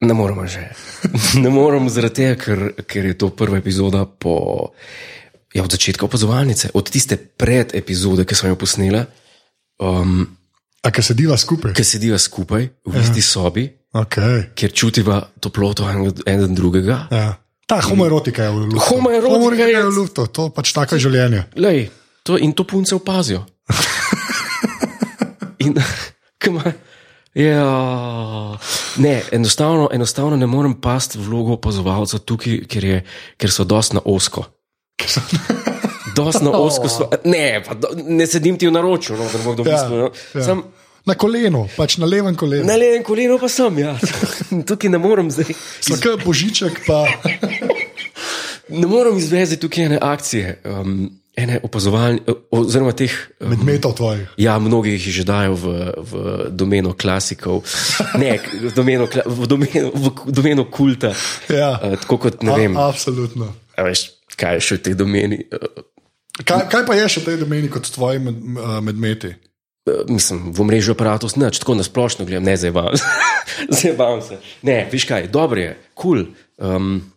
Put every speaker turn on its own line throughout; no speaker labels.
Ne moremo že. ne moremo zaradi tega, ker, ker je to prva epizoda po, ja, od začetka opazovalnice, od tiste pred epizode, ki sem jo posnela, um,
A ki sediva skupaj.
ki sediva skupaj v isti sobi,
Okay.
kjer čutiva toploto enega en drugega.
Ja. Ta homoerotika je v luftu.
Homoerotika
Homoerotika je
je-
v luftu, to pač tako je življenje.
Lej, to, in to punce opazijo. In, kma, ja, ne, enostavno, enostavno ne morem pasti v vlogo opazovalca tukaj, ker, je, ker so dosti na osko. Dosti na osko so. Ne, pa, do, ne sedim ti v naročju, no, da ne bo kdo
Oh. Ja,
mislil. No.
ja.
Sam
Na kolenu, pač na levem kolenu.
na levem kolenu pa sem, ja. Tukaj ne morem zdaj.
Vsak božiček pa.
Ne morem izvesti tukaj ene akcije, um, ene opazovalne, oziroma teh. Um,
Medmetov tvojih.
Ja, mnogi jih že dajo v, v domeno klasikov, ne, k- v domeno, kla- v domeno, v k- domeno kulta.
Ja.
Eh, tako kot ne vem, a,
A, absolutno.
veš, kaj je še v tej domeni. eh,
Kaj, kaj pa je še tej domeni kot tvoji med, eh, medmeti?
eh, Mislim, v mrežu aparatov znač, tako nasplošno gledam, ne zabavam se. zabavam se. Ne, veš kaj, dobro je, kul. Cool. Um,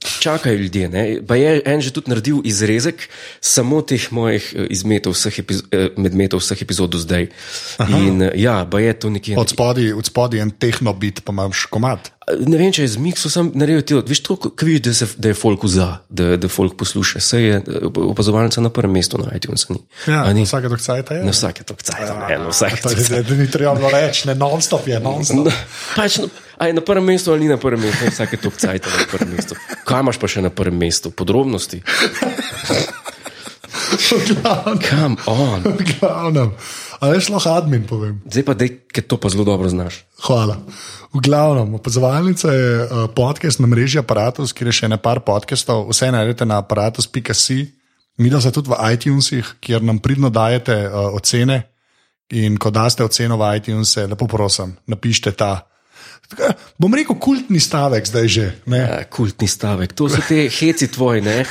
Čakajo ljudje. Ne? Pa je en že tudi naredil izrezek samo teh mojih eh, izmetov, vseh epiz eh, medmetov, vseh epizod do zdaj. In eh, ja, pa je to nekje.
Od spodaj od spodaj en tehno bit, pa imaš komat.
Ne vem, če je z miksom sam naredil ti, veš, tako kot vidiš, da, se, da je folk za, da, da folk posluša. Se je eh, opazovalnica na prvem mestu na iTunesu. ni? A ni?
vsake dok cajt je.
Na vsake to kcajta, ne, na vsake
Ja, No, To
to
je
kcajta.
zdaj, da ni treba bilo reči, ne non-stop je, non-stop.
Pač, no, a je na prvem mestu ali ni na prvem mestu, Na vsake to kcajta na prvem mestu. Kaj imaš pa še na prvem mestu? Podrobnosti.
V glavnem,
Kam on.
v glavnem. A veš, lahko admin povem.
Zdaj pa, dej, ker to pa zelo dobro znaš.
Hvala. V glavnem, opazovalnica je eh, podcast na mreži Apparatus, kjer je še nekaj podcastov, vse najdete na aparatus.com. Mi da se tudi v iTunesih, kjer nam pridno dajete uh, ocene. In ko daste oceno v iTunes, lepo prosim, napišite ta. eh, Bom rekel, kultni stavek zdaj že. Ne?
A, Eh, kultni stavek, to so te heci tvoji, ne?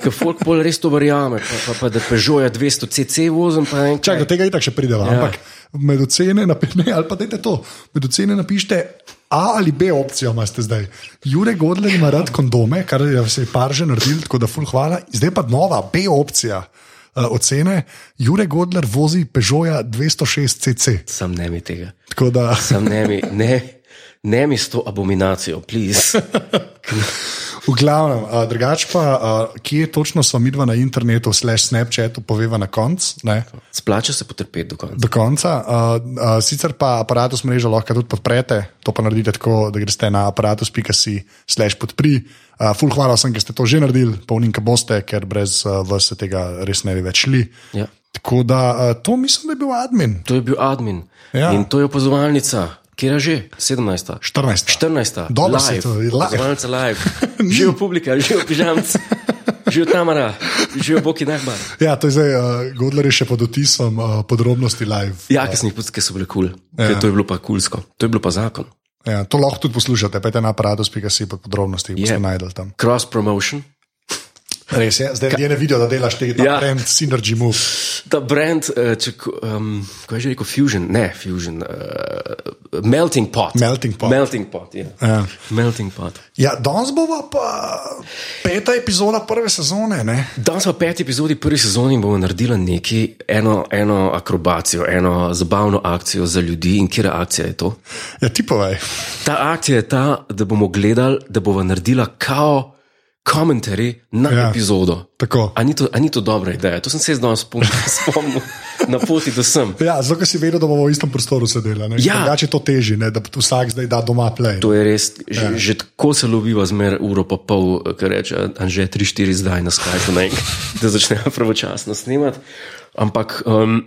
Ker folk pol res to verjame, pa, pa, pa da Peugeot 200 cc vozim, pa en
Čak, do tega itak še prideva. Ja. Ampak med ocene, napi- ne, ali pa dajte to, med ocene napišite A ali B opcijo, imate zdaj. Jure Godler ima rad kondome, kar je se je par že naredil, tako da ful hvala. Zdaj pa nova B opcija. Uh, ocene, Jure Godler vozi Peugeota 206 cc.
Sam ne mi tega.
Tako da,
Sam ne mi, ne, ne mi s to abominacijo, please.
v glavnem, uh, drugač pa, uh, kje točno so midva na internetu, slash Snapchatu, poveva na koncu. ne.
Splača se potrpeti do konca.
Do konca. Uh, uh, sicer pa aparatus mrežo lahko tudi podprete, to pa naredite tako, da greste na aparatus.com/slash podpri. Uh, ful, hvala vsem, ki ste to že naredili, polnim, ki boste, ker brez uh, vas se tega res ne bi več šli.
Ja.
Tako da uh, to mislim, da je bil admin.
To je bil admin
Ja.
ja. in to je opazovalnica, kjer je že 17.
14.
14.
Dobro
live,
si to, live.
Opazovalnica live. Živijo publika, živijo pižamci, živijo tamara, živijo boki nagbar.
Ja, to je zdaj, uh, Godler je še pod otisom uh, podrobnosti live.
Ja, ki sem jih pustili, ker so bile kul. Cool. Ja. To je bilo pa kulsko, to je bilo pa zakon.
Ja, to lahko tudi poslušate, pete na aparatus.com/slash pod podrobnosti, ki
Je.
ste najdel tam.
Cross promotion,
Res je, zdaj ljudje ne vidijo, da delaš te
Ja.
ja. synergy move.
ta brand, eh, če, ko- um, kaj je že rekel, fusion, ne fusion, uh, melting pot.
Melting pot.
Melting pot, ja.
Ja.
Melting pot.
Ja, danes bova pa peta epizoda prve sezone. Ne?
Danes smo v peti epizodi prve sezone in bomo naredili nekaj, eno, eno akrobacijo, eno zabavno akcijo za ljudi. In kje akcija je to?
Ja, ti povej.
Ta akcija je ta, da bomo gledali, da bomo naredili kao komentarji na
Ja.
ja. epizodo.
Tako.
A ni, to, a ni to dobra ideja? To sem se jaz danes spomnil, spomnil na poti do sem.
Ja, zato, ker si vedel, da bomo v istem prostoru sedeli.
Ja.
Drugače je to teži, ne? da vsak zdaj da doma play.
To je res, že, ja. že tako se loviva zmer uro pa pol, eh, kar reče Anže 3-4 zdaj na Skypeu, naenkrat, da začnejo pravočasno snemati. Ampak um,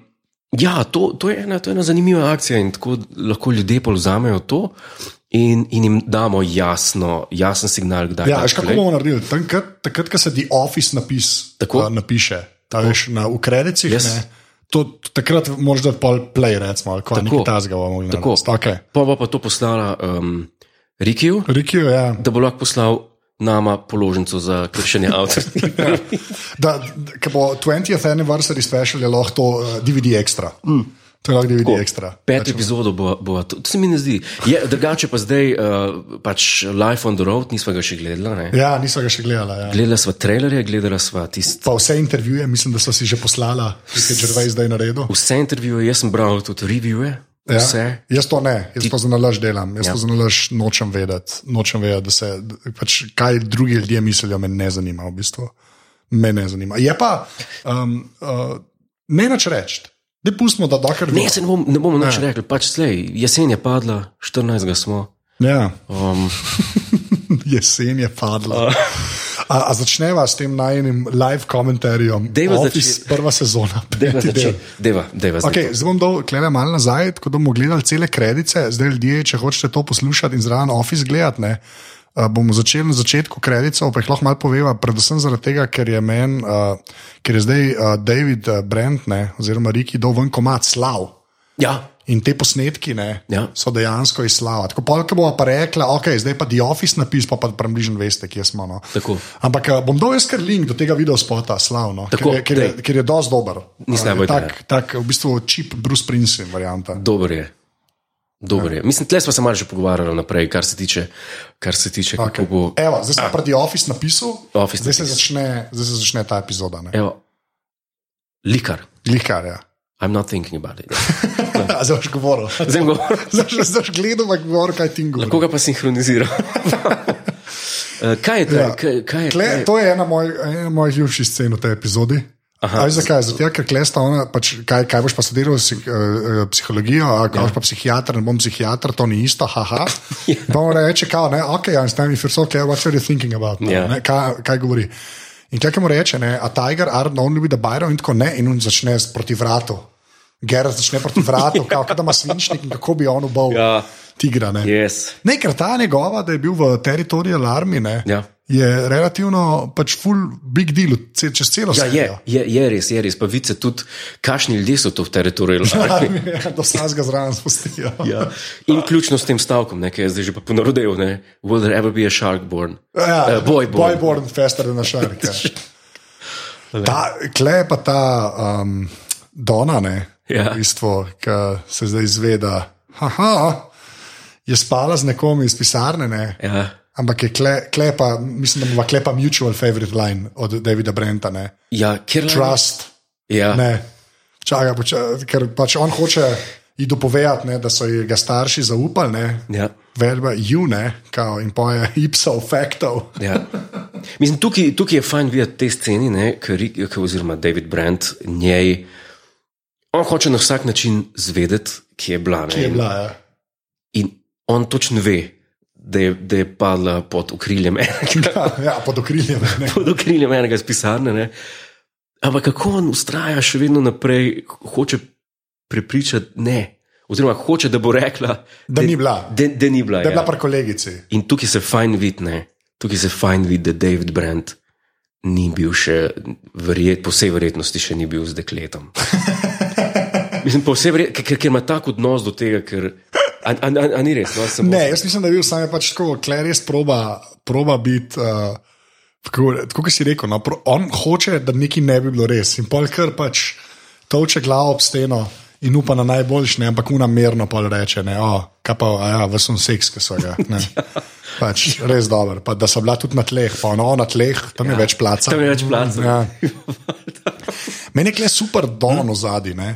ja, to, to, je ena, to je ena zanimiva akcija in tako lahko ljudje povzamejo to in, in jim damo jasno, jasen signal, kdaj
Ja,
da
veš, kako
play.
bomo naredili? Takrat, takrat ko se ti office napis,
Tako.
a, napiše, ta veš na ukredicih.
Yes.
Yes. To, to- takrat moraš dati pol play, recimo, ali kaj
Tako.
takega bomo imeli.
Tako.
Okay.
Pa bo pa to poslala um, Rikiju,
Rekijo, ja.
da bo lahko poslal nama položnico za kršenje avtorskih pravic.
eh, Da, da ko bo 20th anniversary special, je lahko to uh, DVD ekstra. Mm. To lahko ljudi
Tako,
ekstra.
Pet epizod bo, bo to, to se mi ne zdi. Je, drugače pa zdaj, uh, pač Life on the Road, nismo ga še gledali. Ja.
Ja, nisem ga še gledala. Ja.
Gledala sva trailerje, gledala sva tiste.
Pa vse intervjuje, mislim, da so si že poslala, ki je Črvaj zdaj naredil.
Vse intervjuje, jaz sem bral tudi revije,
Ja.
vse.
Jaz to ne, jaz to za nalaž delam, jaz ja. to za nalaž nočem vedeti. Nočem vedeti, da se d- pač, kaj drugi ljudje mislijo, me ne zanima. V bistvu. Me ne zanima. Je pa, um, uh, ne nač reči, da pustimo, da dokler
Ne, se ne bom, ne bomo nič rekli, pač slej, jesen je padla, 14 smo.
Ja,
Um,
jesen je
Ah.
padla. A, a začneva s tem najnim live komentarjem,
Dajva
Office, prva sezona.
deva,
peti del.
začel, deva, deva, zdaj
Okay, zdaj bom dal klene malo nazaj, tako da bomo gledali cele kredice. Zdaj, ljudje, če hočete to poslušati in zraven Office gledati, ne, uh, bomo začeli na začetku kredicev, pa jih lahko malo poveva, predvsem zaradi tega, ker je meni, uh, ker je zdaj uh, David uh, Brent, ne, oziroma Riki, dal ven komat slav.
Ja,
In te posnetki ne,
Ja.
so dejansko iz slava. Tako polka bo pa rekla, ok, zdaj pa The Office napis, pa pa približno veste, kje smo. No.
Tako.
Ampak eh, bom dal jaz kar link do tega videospota, slavno,
Tako,
ker, je- ker, je-
daj.
ker je dosti dober.
Ni
Eh,
slaba
je
ideja.
Tak, tak, v bistvu čip Bruce Springsteen varianta.
dober je. Dober je. Mislim, tle smo se malo že pogovarjali naprej, kar se tiče, kar se tiče okay. kako bo.
Evo, zdaj sem pa The Office napisal,
Ah. Office
zdaj, se
napisal. Ja.
začne, zdaj se začne ta epizoda. ne.
Evo, likar,
Liharja.
I'm not thinking about it.
A Zdaj boš govoril.
Zdaj bom govoril.
Zdaj boš- zdaj boš gledal, ampak govor, kaj ti govori.
Koga pa sinhroniziral? Eh, kaj je to?
Ja.
Kaj, kaj je
Kle, to je ena moj- ena mojih ljubših scen v tej epizodi.
Aha.
Aj, zakaj? Zato, ker klesta ona, pač, kaj, kaj boš pa študiral, si, uh, psihologijo, a
Ja.
kaj boš pa psihiater, ne bom psihiater, to ni isto, haha. ja. Pa ona reče, kao, ne, ok, I'm standing for so clear, what are you thinking about?
Ja.
Ne, kaj, kaj govori. In kaj mu reče, ne, a Tiger, I don't only be the Byron, in tako ne, in on začne s- proti vratu. Gerard začne proti vratu, kao, kaj da ima svinčnik in kako bi on ubal
Ja.
tigra. Ne.
Yes.
Ne, ker ta njegova, da je bil v teritoriju Armi, ne,
Ja.
je relativno pač full big deal ce, čez celo
Ja, je,
svet.
je, je res, je res. Pa vidite tudi, kakšni ljudje so to v teritoriju.
Ja. Do vsega zraven spustijo.
Ja. In ključno s tem stavkom, ne, ki je zdaj že pa ponarodel, ne, will there ever be a shark born? Eh,
Ja,
boy born.
Boyborn, fester na šarke. ja. Ta kle pa ta um, Dona, ne,
Ja.
v bistvu, ki se zdaj izveda, haha, je spala z nekom iz pisarne, ne,
Ja.
ampak je kle, kle pa, mislim, da ima klepa mutual favorite line od Davida Brenta, ne,
Ja, kjer
trust.
Ja.
Ne, čaka, poč- ker pač on hoče ji dopovedati, ne, da so ji ga starši zaupali, ne,
Ja.
verba ju ne, kao, in poje ipsov, faktov.
Ja. Mislim, tukaj, tukaj je fajn videti te scene, ne, ker, Rick- ker- oziroma David Brandt, njej. On hoče na vsak način zvedeti, kje je bila. ne.
Je bila, ja.
In on točno ve, da je, da je padla pod okriljem enega,
ja, pod okriljem. ne.
pod okriljem enega iz pisarne. Ne. Ampak kako on ustraja še vedno naprej, hoče prepričati ne. Oziroma, hoče, da bo rekla,
Da ni bila.
Da, da ni bila.
Da je bila
ja.
pri kolegici.
In tukaj se fajn vidi, ne, tukaj se fajn vidi, da David Brent ni bil še, verjet, po vsej verjetnosti, še ni bil z dekletom. Mislim, po vsej verjetnosti, ker, ker ima tak odnos do tega, ker. A, a, a, a ni res, no, samo.
Ne, jaz mislim, da je bil sam je pač tako, kle res proba, proba biti. Uh, Tako, tako kot si rekel, no, pro- on hoče, da neki ne bi bilo res. In pol kar pač toče glavo ob steno in upa na najboljši, ne, ampak unamerno pol reče, ne, o, kaj pa, a ja, vas sem seks, ki so ga. Ne.
Ja.
Pač, res dober, pa, da so bila tudi na tleh, pa no, na tleh, tam ja. je več placa.
Tam je več placa.
Ja. Meni je kle super don v zadnji, ne.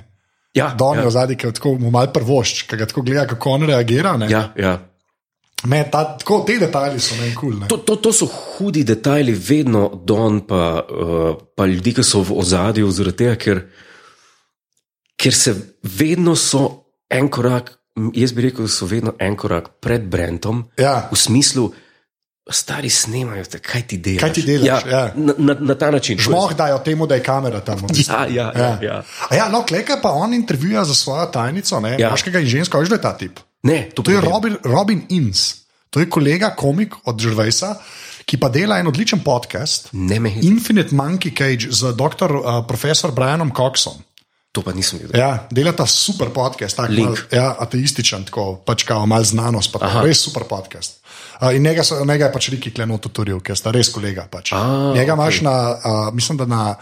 Ja,
Don
ja,
je v zadnji, ki je tako mu mal prvošč, ki ga tako gleda, kako on reagira. Ne.
ja, ja.
Ne, ta, tako, te detajli so meni kul. Cool,
To, to, to so hudi detajli, vedno don, pa, uh, pa ljudi, ki so v ozadju, zaradi tega, ker, ker se vedno so en korak, jaz bi rekel, so vedno en korak pred Brentom,
ja,
v smislu, stari snimajo te, kaj ti delaš.
Kaj ti delaš,
Ja,
ja.
Na, na, na ta način.
žmoh dajo temu, da je kamera tam.
Ja, ja, ja, ja.
A ja, no, kleka pa on intervjuja za svojo tajnico, ne,
Ja.
ja. moškega in žensko, veš, da je ta tip.
Ne, to,
To je
povem.
Robin, Robin Inns, to je kolega, komik od Žrvesa, ki pa dela en odličen podcast,
Ne me hiti.
Infinite Monkey Cage z dr. Uh, profesor Brianom Coxom.
To pa nisem videl.
Ja, delata super podcast, tako
Link.
mal, ja, ateističen, tako pač kao malo znanost, pa tako, res super podcast. Uh, in njega, so, njega je pač Riki Kleno tutoril, ker sta res kolega. Pač.
A,
njega okay. imaš na, uh, mislim, da na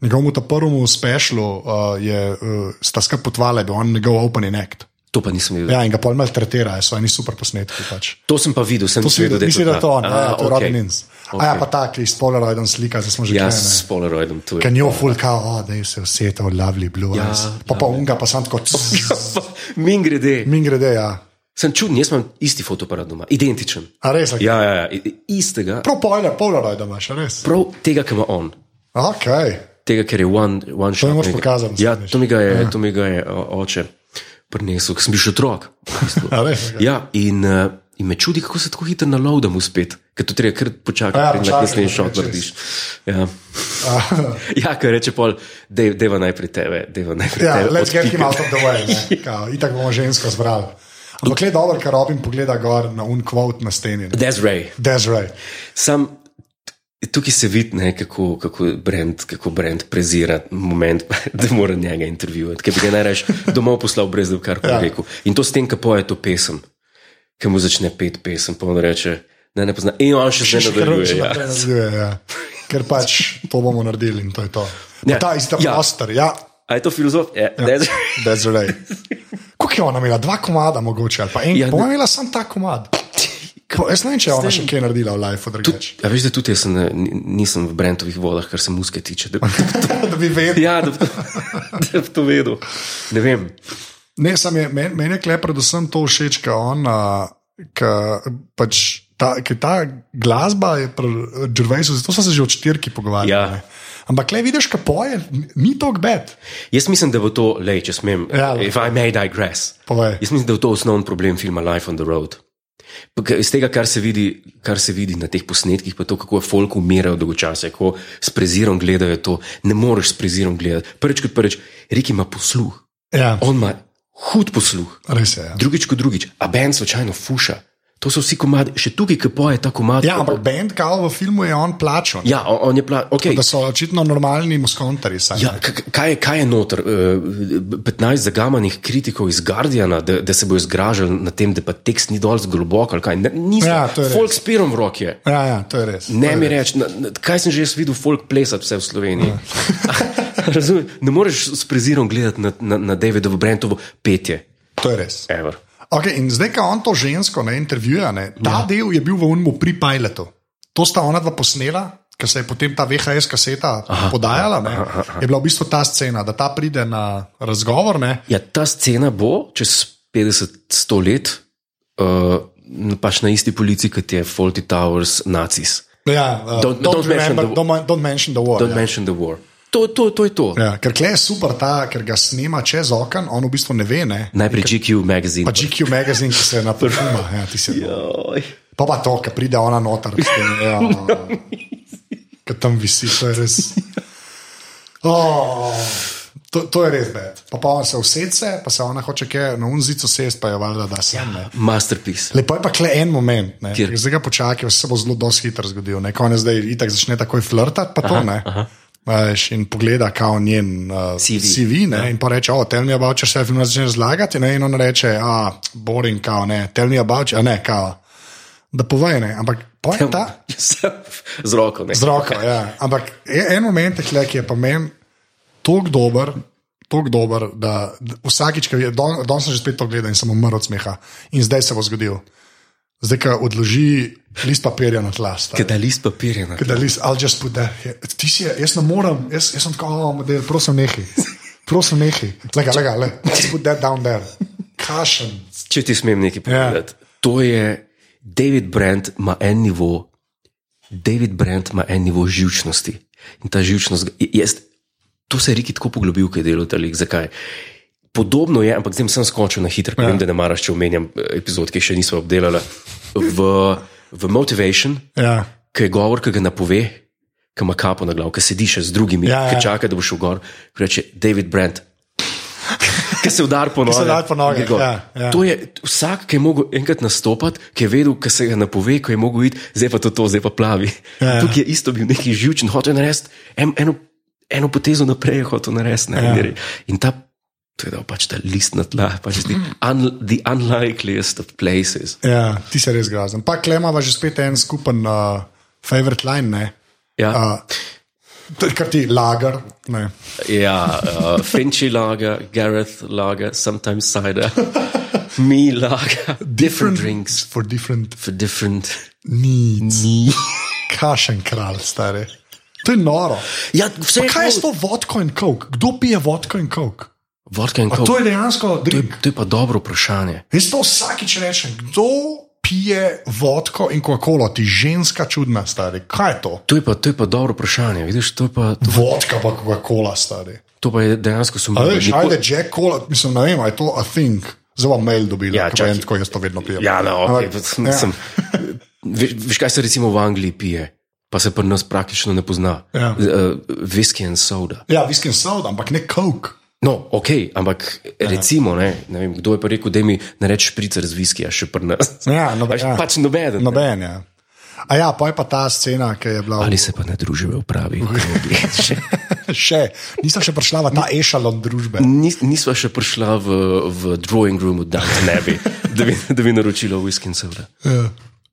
Njegovemu ta prvemu uspešlu uh, je uh, sta skupaj potvale, da je on njegov opening act.
To pa nisem videl.
Ja, in ga pol mal tretirajo, so eni super posnetki. Pač.
To sem pa videl, sem
To si
videl,
videl, mislim, da je to on,
ta-
ja, to je
okej.
Robin Inns. A ja, pa tak, ki s Polaroidom slika, zdaj smo že
Ja,
kaj, ne.
s Polaroidom tu.
Ker njo ful kao, oh, da je vse vse to lovely blue
Ja,
eyes. Pa pa unga, pa sam kot
Min grede.
min grede, ja.
Sem čuden, jaz imam isti fotoparat doma, identičen.
A res, ja.
Ja, ja, ja. i- i- istega,
prav pojle Polaroida imaš, a res.
prav tega, ki ima on.
Ok,
Tega, ker je one, one shot.
mi moraš
mi ga-
pokazati, da
Ja,
spomniš.
to mi ga je, to mi ga je o, oče prinesel, ker sem bil še otrok. v bistvu.
a res.
Ja, in, eh, in me čudi, kako se tako hitro nalovdam uspet, ker tu treba kar počakati,
A ja,
da
počakaj,
ja, naslednji
da
šot
prečez.
narediš. Ja. ja, ker reče pol, "Dej- deva najprej tebe, deva najprej
Ja,
tebe.
let's get
odpikati."
him out of the way. ne, Kao, Itak bomo žensko zbrali. Ampak le dobro, ker Robin pogleda gor na un kvot na steni. ne.
Desiree.
Desiree.
Sam tukaj se vidi, ne, kako, kako, brand, kako brand prezira moment, da mora njega intervjuvati, ker bi ga najraš domov poslal, brez da bi karkoli
Ja.
ja. rekel. In to s tem, ki poje to pesem, ki mu začne pet pesem, pa on reče, da ne pozna. In on še zdaj
Še še kar
nadaljuje.
še
Ja.
naprej nadaljuje, ja. Ker pač to bomo naredili in to je to.
Ja,
Ta isti
ja.
prostor, ja,
A je to filozof? Ja, ja.
Desiree. Kako je ona imela, dva komada mogoče, ali pa en,
Ja,
ja,
ne-
bo imela samo ta komad. Po, jaz ne vem, če je ona še kaj naredila v lifeu, drugače.
A veš, da tudi jaz sem, eh, ni- nisem v Brentovih vodah, kar se muske tiče. Da, bi-
da bi vedela.
ja, da, bi to- da bi to vedel. Ne vem.
Ne, sam je, meni, meni je kle predvsem to všeč, ker ona, ker pač ta, ker ta glasba je pri Džurvejsu, zato sem se že od štirki pogovarjal.
Ja.
ne. Ampak le vidiš, kaj poje, ni to gbet.
Jaz mislim, da bo to, lej, če smem,
Ja,
ja,
lahko.
if I may digress.
Povej.
Jaz mislim, da je to osnovni problem filma Life on the Road. Pa ke- Iz tega, kar se vidi, kar se vidi na teh posnetkih, pa to, kako je folk umiral dolgočasje, kako s prezirom gledajo to, ne moreš s prezirom gledati. Prvič kot prvič, Rik ima posluh,
Ja,
on ima hud posluh,
res je. Ja.
drugič kot drugič, a Ben slučajno fuša. To so vsi komadi, še tukaj, ki poje ta komad.
Ja, ampak bend, kao v filmu, je on plačen.
ja on, on je pla, okay.
Da so očitno normalni muskontari. saj.
Ja, k- k- kaj, je- kaj je noter? Eh, 15 zagamanih kritikov iz Guardiana, da, da se bojo zgražali na tem, da pa tekst ni dol globoko. ali kaj. Ne- Nisem,
Ja,
ja,
to je res.
folk s pirom v roki je.
ja, ja, to je res.
Ne mi reči, na- na- kaj sem že jaz videl, folk plesati vse v Sloveniji.
Ja.
Razumem, ne moreš s prezirom gledati na, na, na Davidovo Brentovo petje.
To je res.
Ever.
Okay, in zdaj, ko on to žensko ne intervjuja, ne, ta ja. del je bil v unmu pri Pilotu. To sta ona dva posnela, ker se je potem ta VHS kaseta aha, podajala. Ne, je bila v bistvu ta scena, da ta pride na razgovor. Ne,
Ja, ta scena bo čez 50-100 let uh, pač na isti polici, kot je Faulty Towers, nacis.
ja, uh,
Don't- don't mention the-
don't, men- don't mention the war.
Don't
Ja.
mention the war. To, to, to je to.
Ja, ker kle je super ta, ker ga snema čez okno, on v bistvu ne ve. Ne,
Najprej GQ magazine.
Pa GQ magazin, ki se je naprfuma. Ja, ti si
Joj.
Pa pa to, ki pride ona noter, ki ja, no. tam visi, to je res. Oh, to, to je res bed. Pa pa on se usede, pa se ona hoče kaj na unzico sest, pa je valjda, da se jim ne.
Masterpiece.
Lepo je pa kle en moment, ne,
Kjer?
ker zdaj ga počakaj, vse se bo zelo dosti hitro zgodil. Ne, konec zdaj itak začne takoj flirtati, pa to aha, ne. Veš, In pogleda, kao njen uh,
CV.
CV ne, in pa reče: oh, Tell me about yourself, in ona začne razlagati. Ne, in on reče: ah, Boring, kao ne, tell me about you, a ne, kao. Da povej, ne, ampak pojem ta.
Z roko. Ne.
Z roko, ja. Ampak je en moment je, tule, ki je pa meni tako dober, tako dober, da da vsakič, ki je, danes don sem že spet to gledal in sem umrl od smeha. In zdaj se bo zgodil. Zdaj, ko odloži list papirja na tla. stari.
Da list papirja. na-
Ke Da list, I'll just put that. here." Ti si, je- jaz ne morem, jaz, jaz sem tako, oh, model, prosim, nehi. Prosim, nehi. Lega, lega, le, let's put that down there. Kašen.
Če ti smem
Ja.
nekaj povedati. To je David Brent, ima en nivo, David Brent ima en nivo živčnosti. In ta živčnost, ga- jaz, to se je Riki tako poglobil, kaj delo ta lik. Zakaj? Podobno je, ampak zdaj sem skočil na hitro,
Ja.
ker vem, da ne maraš, če omenjam eh, epizod, ki jih še nismo obdelali. V, v Motivation,
Ja.
ki je govor, ki ga napove, ki ima kapo na glavi, ki sedi še z drugimi,
Ja,
ja, ki
ja.
čaka, da bo šel gor. ki Reče David Brent. Ki se udar po nogi.
udari po nogah, ja, ja.
To je vsak, ki je mogel enkrat nastopati, ki je vedel, ki se ga napove, ko je mogel iti, zdaj pa to, to zdaj pa plavi.
Ja,
Ja,
ja.
ja. Tukaj je isto bil neki živčen, hotel je narediti en, eno, eno potezo naprej, je hotel narediti.
Ja.
Ja. In ta, to je dal pač ta list na tla, pač the, un, the unlikeliest of places.
Ja, ti si res grozen. Pa klemava že spet en skupen uh, favorite line. Ne?
Ja.
Uh, To je kar ti lagar. Ne.
Ja, uh, Finchy lager, Gareth lager, sometimes cider, me lager, different drinks
For different
for different
needs.
needs.
Kašen kralj, stare. To je noro.
Ja, vse
Pa kaj je s
to?
to vodko in kok? Kdo pije vodko in kok?
Vodka in
To
kava.
je dejansko drink.
To je pa dobro vprašanje.
Jaz to vsakič rečem, kdo pije vodko in Coca-Cola, ti ženska čudna, stari. Kaj je to?
To je pa, to je pa dobro vprašanje. Vidiš, to, je pa, to,
Vodka pa Coca-Cola, stari.
to pa je dejansko sumljivo.
A veš,
Nikoli-
ajde, Jack Cola, mislim, ne vem, a je to a thing. Zelo mail dobili,
Ja,
ja, če en
čakaj.
tako jaz to vedno pijem.
Ja, no, okay,
Ampak,
pa,
ja.
sem, veš, veš, kaj se recimo v Angliji pije, pa se pri nas praktično ne pozna.
Ja.
Uh, whisky in soda.
Ja, viski in soda, ampak ne coke.
No, ok, ampak eh, recimo, ne, ne vem, kdo je pa rekel, da mi ne rečeš špricer z viskija, še pri nas.
Ja,
Pač,
nobe, ja.
pač noben. ne.
Noben, ja. A ja, pa je pa ta scena, ki je bila
Ali se pa ne družijo v pravi krogi.
še, nisem še prišla v ta ešalon družbe.
Nis, nisva še prišla v, v drawing room od Dana Nebi, da bi, da bi naročila whisky in soda.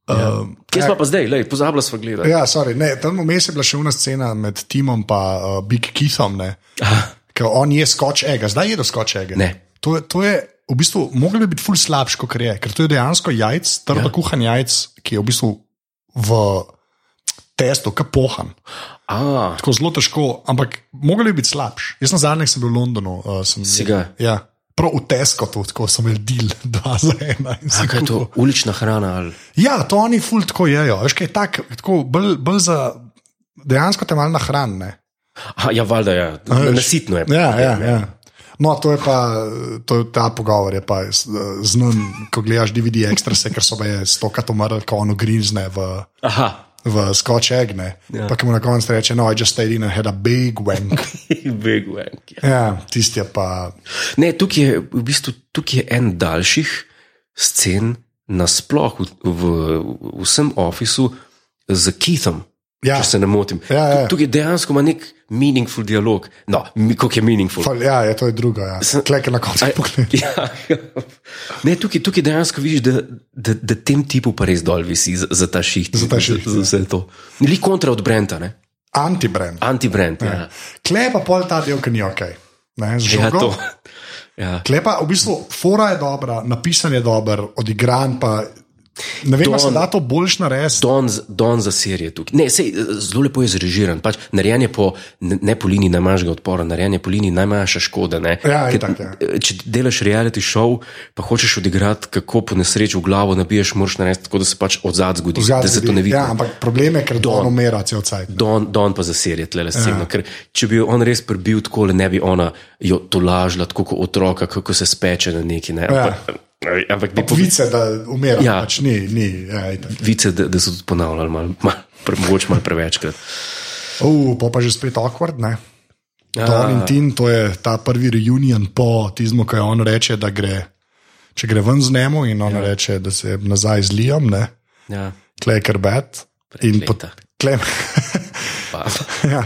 Um,
Kje smo pa zdaj, Lej, pozabila sva gledati.
Ja, sorry, ne, tam vmes je bila še ena scena med Timom in uh, Big Keithom, ne, ker on je skoč ega, zdaj je do skoč ega.
Ne.
To, je- to je v bistvu, mogli bi biti ful slabš, kot je, ker to je dejansko jajc, trdo ja. kuhan jajc, ki je v bistvu v testu, kapohan.
A,
Tako zelo težko, ampak mogli bi biti slabš. Jaz na zadnjih sem bil v Londonu. Uh, sem,
Si ga?
Ja. Prav v Tesku, to, tako sem imel del, dva za ena.
a
in sem
kaj je to,
kupil.
ulična hrana ali.
Ja, to oni ful tako jejo. Veš, kaj je tak, tako, bolj, bolj za dejansko te malo nahranjene.
Aha, ja, valjda, ja.
veš.
nasitno je.
Ja, ja, ja. No, to je pa, to je ta pogovor je pa eh, znan, ko gledaš DVD ekstrase, ker so me stokrat umrli, ko ono grizne v,
Aha,
v skoč egne. Ja. Pa ki mu na koncu reče, no, I just stayed in and had a big wank.
big wank. Ja.
Ja, tisti je pa.
Ne, tukaj je v bistvu tukaj je en daljših scen nasploh v, v, v vsem ofisu z Keithom.
Ja.
Če se ne motim.
Ja, ja.
Tu- Tukaj dejansko ima nek meaningful dialog. No, mi- koliko je meaningful.
Fol, ja, je, to je drugo. Ja. Kleke na koncu
A-
pogled.
Ja, ne, tukaj, tukaj dejansko vidiš, da, da, da tem tipu pa res dol visi za, za ta šiht.
Za ta šiht, ja.
Za, za vse to. Ni kontra od Brenta, ne?
Antibrand.
anti-Brent. Ja.
Klej pa pol ta del, ki ni ok. Ne, z
Ja,
žogo.
to. Ja.
Klej pa v bistvu, fora je dobra, napisan je dober, odigran pa. Ne vem, ali se da to boljš narediti.
Don, z- Don za serije tukaj. Ne, sej, zelo lepo je zrežiran. Pač, narejen je po, ne ne po liniji najmanjšega odpora, narejen je po liniji najmanjše škode. ne.
Ja,
Ker, eh,
itak, ja.
Če delaš reality show, pa hočeš odigrati, kako po nesreči v glavo nabiješ, moraš narediti tako, da se pač od zadaj zgodi, da
Zgadi
se
ljudi.
to ne vidi.
Ja, ampak problem je, ker
Don.
Don umira cel cajt.
Don, Don pa zaserje tle sceno, ja. ker če bi jo on res prebil tako, ne bi ona jo tolažila, tako kot otroka, kako se speče na neki. Ne?
Ja.
Ampak, ampak bi povedal,
Povice, da
Ja.
umira, ja. pač ni, ni. Ja, itak.
da, da so tudi ponavljali, malo, malo, pre- mogoče malo prevečkrat.
Uh, pa pa že spet awkward, ne? Don
Ah.
in Tin, to je ta prvi reunion po tizmu, ko je on reče, da gre, če gre ven z njemu in on ja. reče, da se nazaj zlijam, ne,
Ja.
klej ker bed. In
Prekleta.
klej.
Pa.
ja,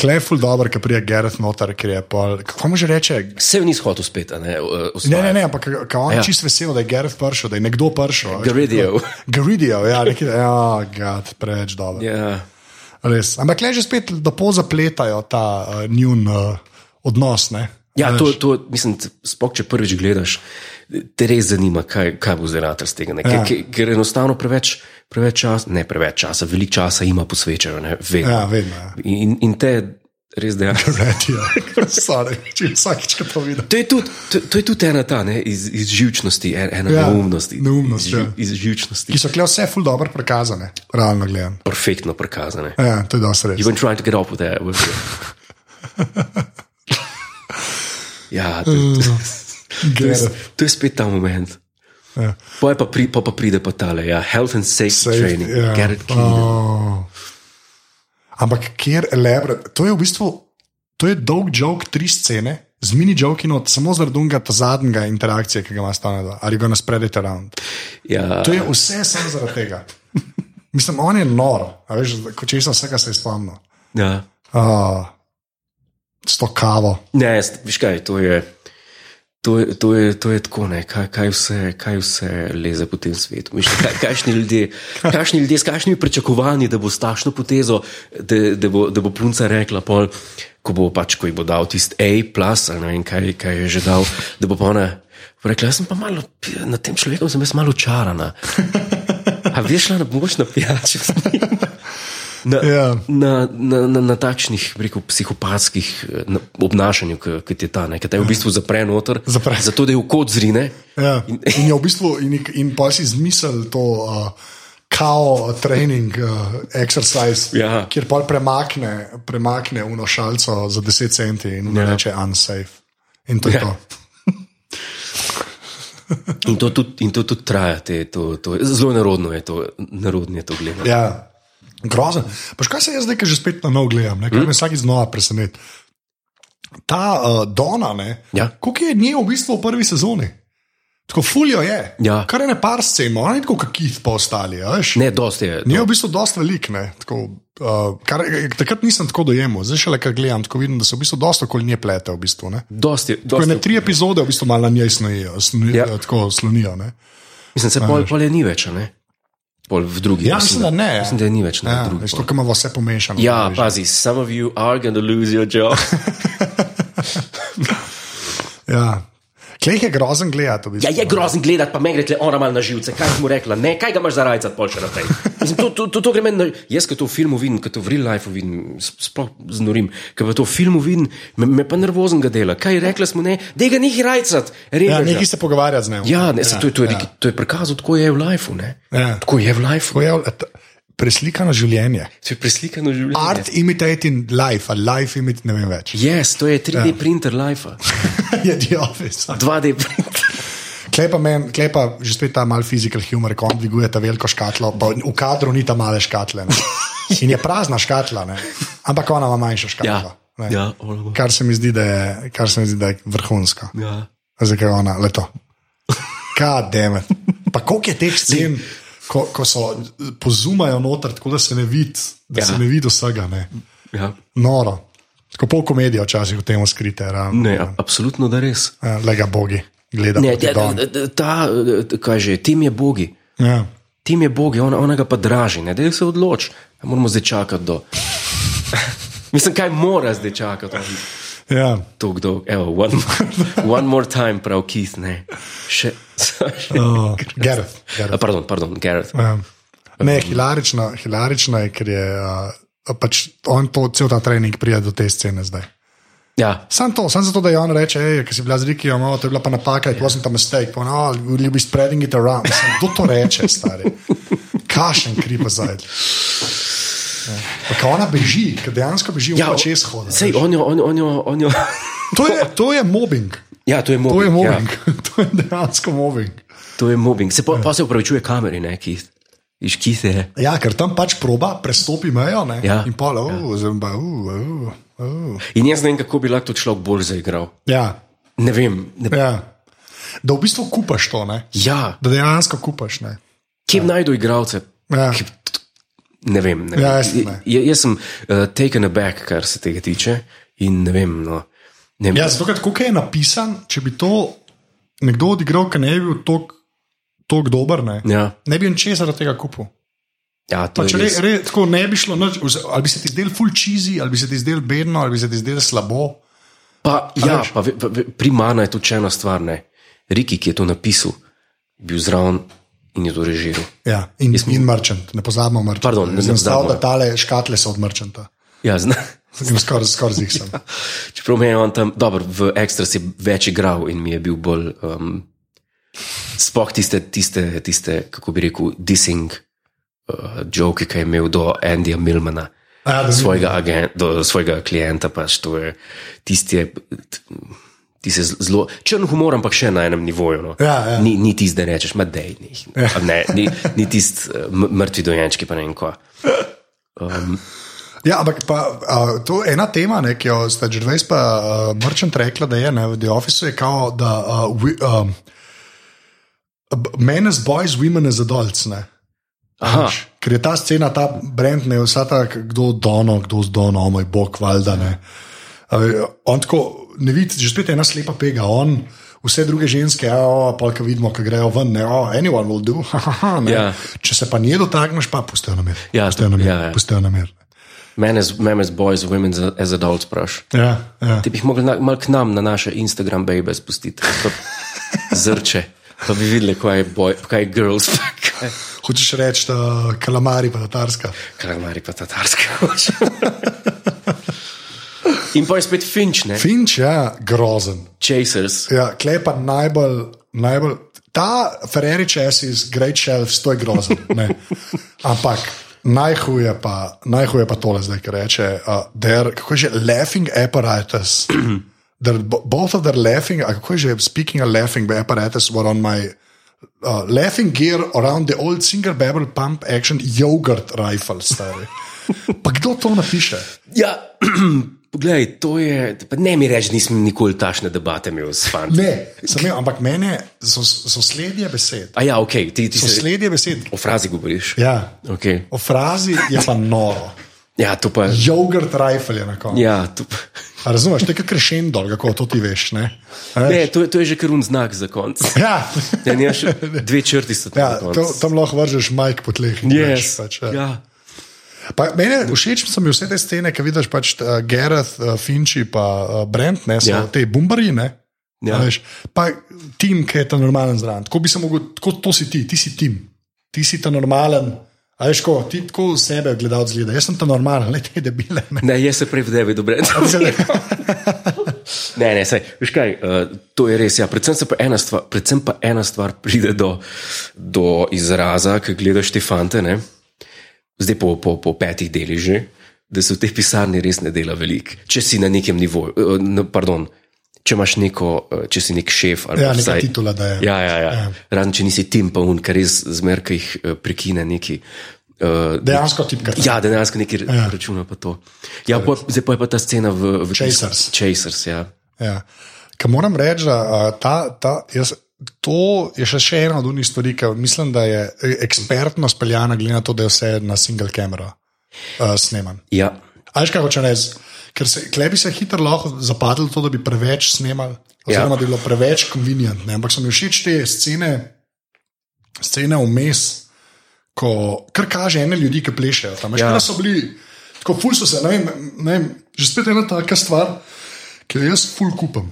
klej je ful dobro, ker prije Gareth noter, ker je pol. Kako mu že reče?
Se ni shodil spet, a ne, o- eh,
Ne, ne,
osvajati.
ne, ampak ka on
Ja.
je čist vesel, da je Gareth prišel, da je nekdo prišel. veš.
Garidijev.
Garidijev, ja, nekaj, ja, gad, preveč dobro.
Ja.
Res. Ampak le že spet lepo zapletajo ta uh, njun uh, odnos. Ne?
Ja, to, to mislim, spok, če prvič gledaš, te res zanima, kaj, kaj bo zdaj ratelj z tega. ne. Ker,
Ja.
ker, ker enostavno preveč, preveč časa, ne preveč časa, veliko časa ima posvečeno, ne, vedno.
Ja, vedno. Ja.
In, in te res dejansko.
Retijo, ja. sorry, če vsakič ko to vidim.
To je tudi, to, to je tudi ena ta, ne, iz, iz živčnosti, en- ena ja,
Ja,
neumnosti.
neumnost,
iz, žu-
ja.
iz živčnosti.
Ki so kle vse ful dobro prikazane, realno gledano.
Perfektno prikazane.
Ja, to je dosti res.
You've been trying to get up with that. With ja, to, to,
Uh.
to, je,
Gareth.
to je spet ta moment.
Ja.
Poje pa, pri, pa, pa pride pa tale, ja, health and safety Safe,
Safety,
training,
ja.
yeah. Garrett Keane.
Oh. Ampak kjer elaborate, to je v bistvu, to je dolg jok, tri scene, z mini joki, no, samo zaradi unga ta zadnjega interakcije, ki ga ima stane, ali ga nas predete around.
Ja,
To je vse samo zaradi tega. Mislim, on je noro, a veš, ko če sem vsega se je spomnil.
ja.
Uh, s to kavo.
Ne, s- veš kaj, to je. To je, to je, to je tako, ne, kaj, kaj, vse, kaj vse leze po tem svetu. Mišli, kaj, kakšni, ljudje, kakšni ljudje, s kakšnimi pričakovanji, da bo s takšno potezo, da, da, bo, da bo punca rekla, pol, ko bo pač, ko ji bo dal tisti A, plus, ali ne vem, kaj, kaj je že dal, da bo pa ona rekla, jaz sem pa malo, na tem človeku sem jaz malo čarana. A veš, šla na boš na pijači. z njim? Na,
Ja.
yeah. na, na, na, na takšnih bi rekel, psihopatskih eh, na- obnašanju, k- kot je ta, ne, ki te v bistvu zapre noter,
Zapre.
zato da je v kot zrine.
Ja. In je v bistvu, in, in pa si izmislil to uh, kao trening, uh, exercise,
Ja.
kjer pa premakne, premakne unošalco za 10 centi in ja.
Ja.
reče unsafe. In to je
Ja.
to.
In to tudi, in to tudi traja, te, to, to, zelo nerodno je to, nerodno je to gledati.
Ja. Grozen. Pa kaj se jaz zdaj, ki že spet na nov gledam, ne?
Hm?
kaj me vsakič znova preseneti. Ta uh, Dona, ne,
Ja.
koliko je nje v bistvu v prvi sezoni? Tako fuljo je.
Ja.
Kar je ne par scen, ona ni tako kot Keith pa ostali. a veš?
Ne, dosti je.
Ni v bistvu dosta velik, ne. Tako, uh, kar, takrat nisem tako dojemal, zdaj šele kar gledam, tako vidim, da se v bistvu dosta okoli nje plete. V bistvu, ne.
Dosti,
Tako
dosti.
je, ne, tri epizode v bistvu malo na njej snojijo, snojijo
Ja.
ja. tako slonijo. Ne.
Mislim, se pol, pol je ni več, a ne? Pol v drugi.
Ja, mislim, da ne.
Mislim, da je ni več na
Ja,
drugi.
veš,
pol.
to, kar imamo vse pomešano.
Ja,
veš.
pazi, some of you are gonna lose your job.
Ja. Klej je grozen gledati. V bistvu.
Ja, je grozen gledati, pa meni gre tle ona malo na živce. Kaj si mu rekla? Ne, kaj ga imaš za rajca, pol še naprej. Mislim, to, to, to, to gre meni, na- jaz, ki to v filmu vidim, ki to v real life vidim, s- sploh znorim. Ker pa to v filmu vidim, me, me pa nervozen ga dela. Kaj rekla smo ne, da ga ni rajca,
ja,
reži.
nekaj se pogovarjati z njim.
Ja, ne, ja, to, je, to, je,
ja.
ja. to je prikazal, tako je v lifeu. ne.
Ja.
Tako je v lifeu.
Tako je, a t- Preslikano življenje.
To je preslikano življenje.
Art imitating life, a life imitating ne vem več.
Yes, to je 3D ja. printer lifea,
je The Office.
2D printer.
Klepa, men, klepa že spet ta mal physical humor, ko on dviguje ta veliko škatlo, pa v kadru ni ta male škatle. Ne. In je prazna škatla, ne. ampak ona ima manjšo škatlo.
Ja,
ne.
ja, ono bo.
Kar se mi zdi, da je, kar se mi zdi, da je vrhunsko.
ja.
Zakaj je ona leto? Kademe. Pa koliko je teh scen, ko, ko so pozumajo noter, tako da se ne vidi, da ja.
Ja.
se ne vidi vsega. Ne.
ja.
Noro. Tako pol komedije včasih v tem skrite, eh,
Ne, a, absolutno da res.
le ga bogi gledajo.
Ne, ja, da- da- ta, eh, kaj že, tim je bogi.
Ja.
Tim je bogi, ona, ona ga pa draži, ne, da se odloči. A Moramo zdaj čakati do. Mislim, kaj mora zdaj čakati. on?
Ja.
To kdo, evo, one, more- one more time, prav Keith, ne. Še. še.
Uh, Gareth. Gareth.
A, Pardon, pardon, Gareth.
Ja.
Um,
Ne, hilarično, hilarično je, ker je uh, pač on to, cel ta trening pride do te scene zdaj.
Ja,
Sam to, sam zato, da je on reče, hej, ki si bila z Rikijo, no, to je bila pa
Ja.
napaka, it wasn't a mistake, pa no, will you be spreading it around. Mislim, kdo to reče, stari? Kašen kripa zajedli. Pa ko ona beži, ki dejansko beži, ja,
ja
pa čez hodi.
Sej, on jo, on, jo- on jo, on jo.
To, je- to je mobbing,
Ja, to je mobbing.
to je
ja,
mobbing, ja. to je dejansko mobbing.
to je mobbing. Se pa, pa se upravičuje kameri, ne, Keith. Iš Keith je.
Ja, ker tam pač proba, prestopi mejo ne?
Ja.
in pa, oh, zdaj pa, oh, oh.
In jaz ne vem, kako bi lahko to človek bolj zaigral.
Ja,
Ne vem. Ne,
ja. Da v bistvu kupaš to, ne?
ja,
da dejansko kupaš. Ne?
kje najdu igralce?
Ja.
Ki- Ne vem. Ne vem.
Ja, jaz tudi ne.
J- jaz sem uh, taken aback, kar se tega tiče. In ne vem. No, ne vem.
Ja, zato, ker tako kot je napisan, če bi to nekdo odigral, ki ne bi bil tako dober, ne,
ja,
ne bi ničesar od tega kupil.
ja, to
Pač
je
re,
res.
re, tako ne bi šlo, nič, vz- ali bi se ti zdel full cheesy, ali bi se ti zdel bedno, ali bi se ti zdel slabo.
Pa, ja, pa, ve- pa, ve- pri Mana je to če ena stvar. Ne. Riki, ki je to napisal, je bil zraven in je to režiral.
Ja, in, in merchant, ne pozabimo merchant.
Pardon, ne- ne
Zastav,
pozabimo.
da tale škatle so od merchanta.
Ja, zna,
Skoraj skor z jih sem.
čeprav me je on tam, dobro, v ekstra si več igral in mi je bil bolj. Um, Sploh tiste, tiste, tiste, kako bi rekel, dissing uh, joke, ki je imel do Andyja Milmana.
Ja, da
svojega, agent, do svojega klienta, pač to je tisti, je, ti se zelo, črn humor, ampak še na enem nivoju. No.
Ja, ja.
Ni, ni tisti, da rečeš, ma dej, ni, ja. ne, ni, ni tisti eh, m- mrtvi dojenčki, pa ne vem kva. Um,
Ja, ampak pa, a, to je ena tema, ne, ki jo ste že dvajset, pa uh, Merchant rekla, da je ne, v The Officeu, je kao, da uh, we, um, b- men as boys, women as adults. Ne. Pač,
Aha,
Ker je ta scena, ta brand, ne vsa ta, kdo dono, kdo zdono, moj bog, valjda. Ne. A, on tako ne vidi, že spet je ena slepa pega. On Vse druge ženske, ja, o, pa ki vidimo, ki grejo ven, ne, o, anyone will do. ne.
Ja.
Če se pa nje dotakneš, pa pustijo na mir.
Ja,
pustijo na mir.
ja, ja.
Pustijo na mir.
Men as, men as boys, women as- as adults, praš.
Ja, ja.
Ti bi jih mogli na- malo k nam na naše Instagram baby spustiti, pa zrče, pa bi videli, kaj je, boy, kaj je girls, pa kaj je
Hočeš reči, da kalamari, pa tatarska.
kalamari, pa tatarska. In pa je spet finč, ne?
Finč, ja, grozen.
Chasers.
Ja, klej pa najbolj, najbolj. Ta Ferrari čas iz Great Shelves, to je grozen. ne. Ampak najhuje pa, najhuje pa tole zdaj, ki reče, uh, they're- kako je že laughing apparatus. They're bo- Both of their laughing, a kako je že speaking of laughing apparatus, were on my uh, laughing gear around the old single barrel pump action yogurt rifle, stari. Pa kdo to napiše?
Ja, poglej, to je. pa Ne mi reči, nisem nikoli tašne debate imel s fanti.
Ne, sem imel, ampak mene so, so sledje besed.
A ja, ok, ti, ti
So
se
sledje besed,
o frazi govoriš.
Ja.
Okay.
O frazi je pa noro.
Ja, to pa.
Jogurt rifle je na koncu.
Ja, to, pa-
A Razumeš, te kakor še en dol, kako to ti veš. Ne? A veš?
ne, to, je- to je že kar un znak za konc.
Ja.
Ne, ne, še dve črti so tam.
Ja,
na koncu.
to, tam lahko vržeš majk po tleh. in greš,
Yes.
pač, ja.
Ja.
Pa Mene všeč so mi vse te scene, ki vidiš pač uh, Gareth, uh, Finči, pa uh, Brent, ne, so
Ja.
ja. te bumbarine.
Ja.
Ja. Veš, pa tim, ki je ta normalen zraven. Tako bi se mogel, tako to si ti, ti si tim, ti si ta normalen. A veš, ko, ti tako sebe gledal zgleda, jaz sem ta normalen, le te debile. Ne.
Ne, jaz se prej v devi dobre. Ne, ne, saj, veš kaj, uh, to je res. Ja. Predvsem, se pa ena stvar, predvsem pa ena stvar pride do, do izraza, ki gledaš te fante, ne? zdaj po, po, po petih delih že, da se v tej pisarni res ne dela veliko. Če si na nekem nivoju, uh, no, pardon, če imaš neko, uh, če si nek šef ali
Ja,
pa
neka
vsaj-
titula, da je.
Ja, ja, ja. ja. Razen če nisi tim, pa un, kar res zmerka jih uh, prekine neki. Uh,
Dejansko tipka.
Ja, dejansko nekaj ja. računa pa to. Ja, pa, zdaj pa je pa ta scena v, v
Chasers.
Chasers, ja.
Ja. Ker moram reči, da a, ta, ta, jaz, to je še, še ena od unih stvari, ki mislim, da je e, ekspertno speljana, glede na to, da je vse na single camera uh, sneman.
ja.
A veš, kaj hoče reči? Ker se, tule bi se hitro lahko zapadlo v to, da bi preveč snemali,
Ja.
oziroma ja. da bi bilo preveč konvenient. ne. Ampak so mi všeč te scene, scene vmes, ko kar kaže ene ljudi, ki plešejo tam.
Ja.
Ja. So bili, tako ful so se, ne vem, ne vem, že spet ena taka stvar, ki jo jaz ful kupam.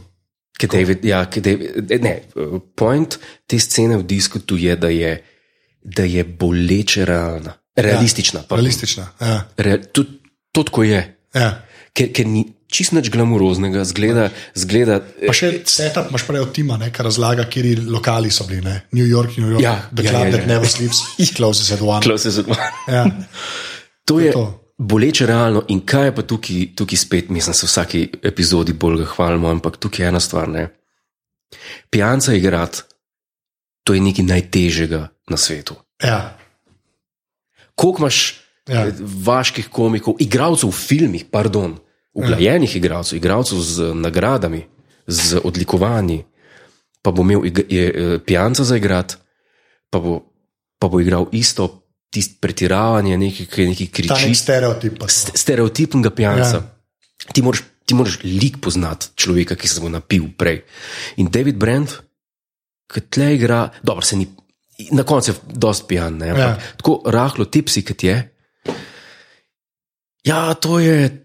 Ker David, ja, ker David, eh, ne, eh, point te scene v disku tu je, da je, da je boleče realna, realistična. Ja,
Realistična. Ja.
Re, to, to tako je.
Ja.
Ker, ker ni čist nič glamuroznega, zgleda, zgleda eh,
Pa še setup imaš prej od Tima, ne, ki razlaga, kje lokali so bili. Ne? New York, New York,
Ja,
The
ja,
Club
ja,
That
ja.
Never Sleeps, Closes at One.
close as it was.
Ja.
To je
to.
boleče realno in kaj je pa tukaj, tukaj spet, mislim, se v vsaki epizodi bolj ga hvalimo, ampak tukaj je ena stvar. Ne? Pijanca igrati, to je nekaj najtežjega na svetu.
Ja.
Koliko imaš ja.
Ja.
vaških komikov, igralcev v filmih, pardon, uglajenih ja. igralcev, igralcev z nagradami, z odlikovanji, pa bo imel ig- je, eh, pijanca za igrati, pa bo, pa bo igral isto. Tisti pretiravanje, nekaj, ki neki kriči.
Ta nek stereotip. pa to.
st- stereotipnega pijanca.
Ja.
Ja. Ti, moraš, ti moraš lik poznati človeka, ki se bo napil prej. In David Brent, ki tle igra, dobro, se ni, na koncu je dost pijan, ne, ampak ja.
Ja.
tako rahlo tipsi, kot je. Ja, to je.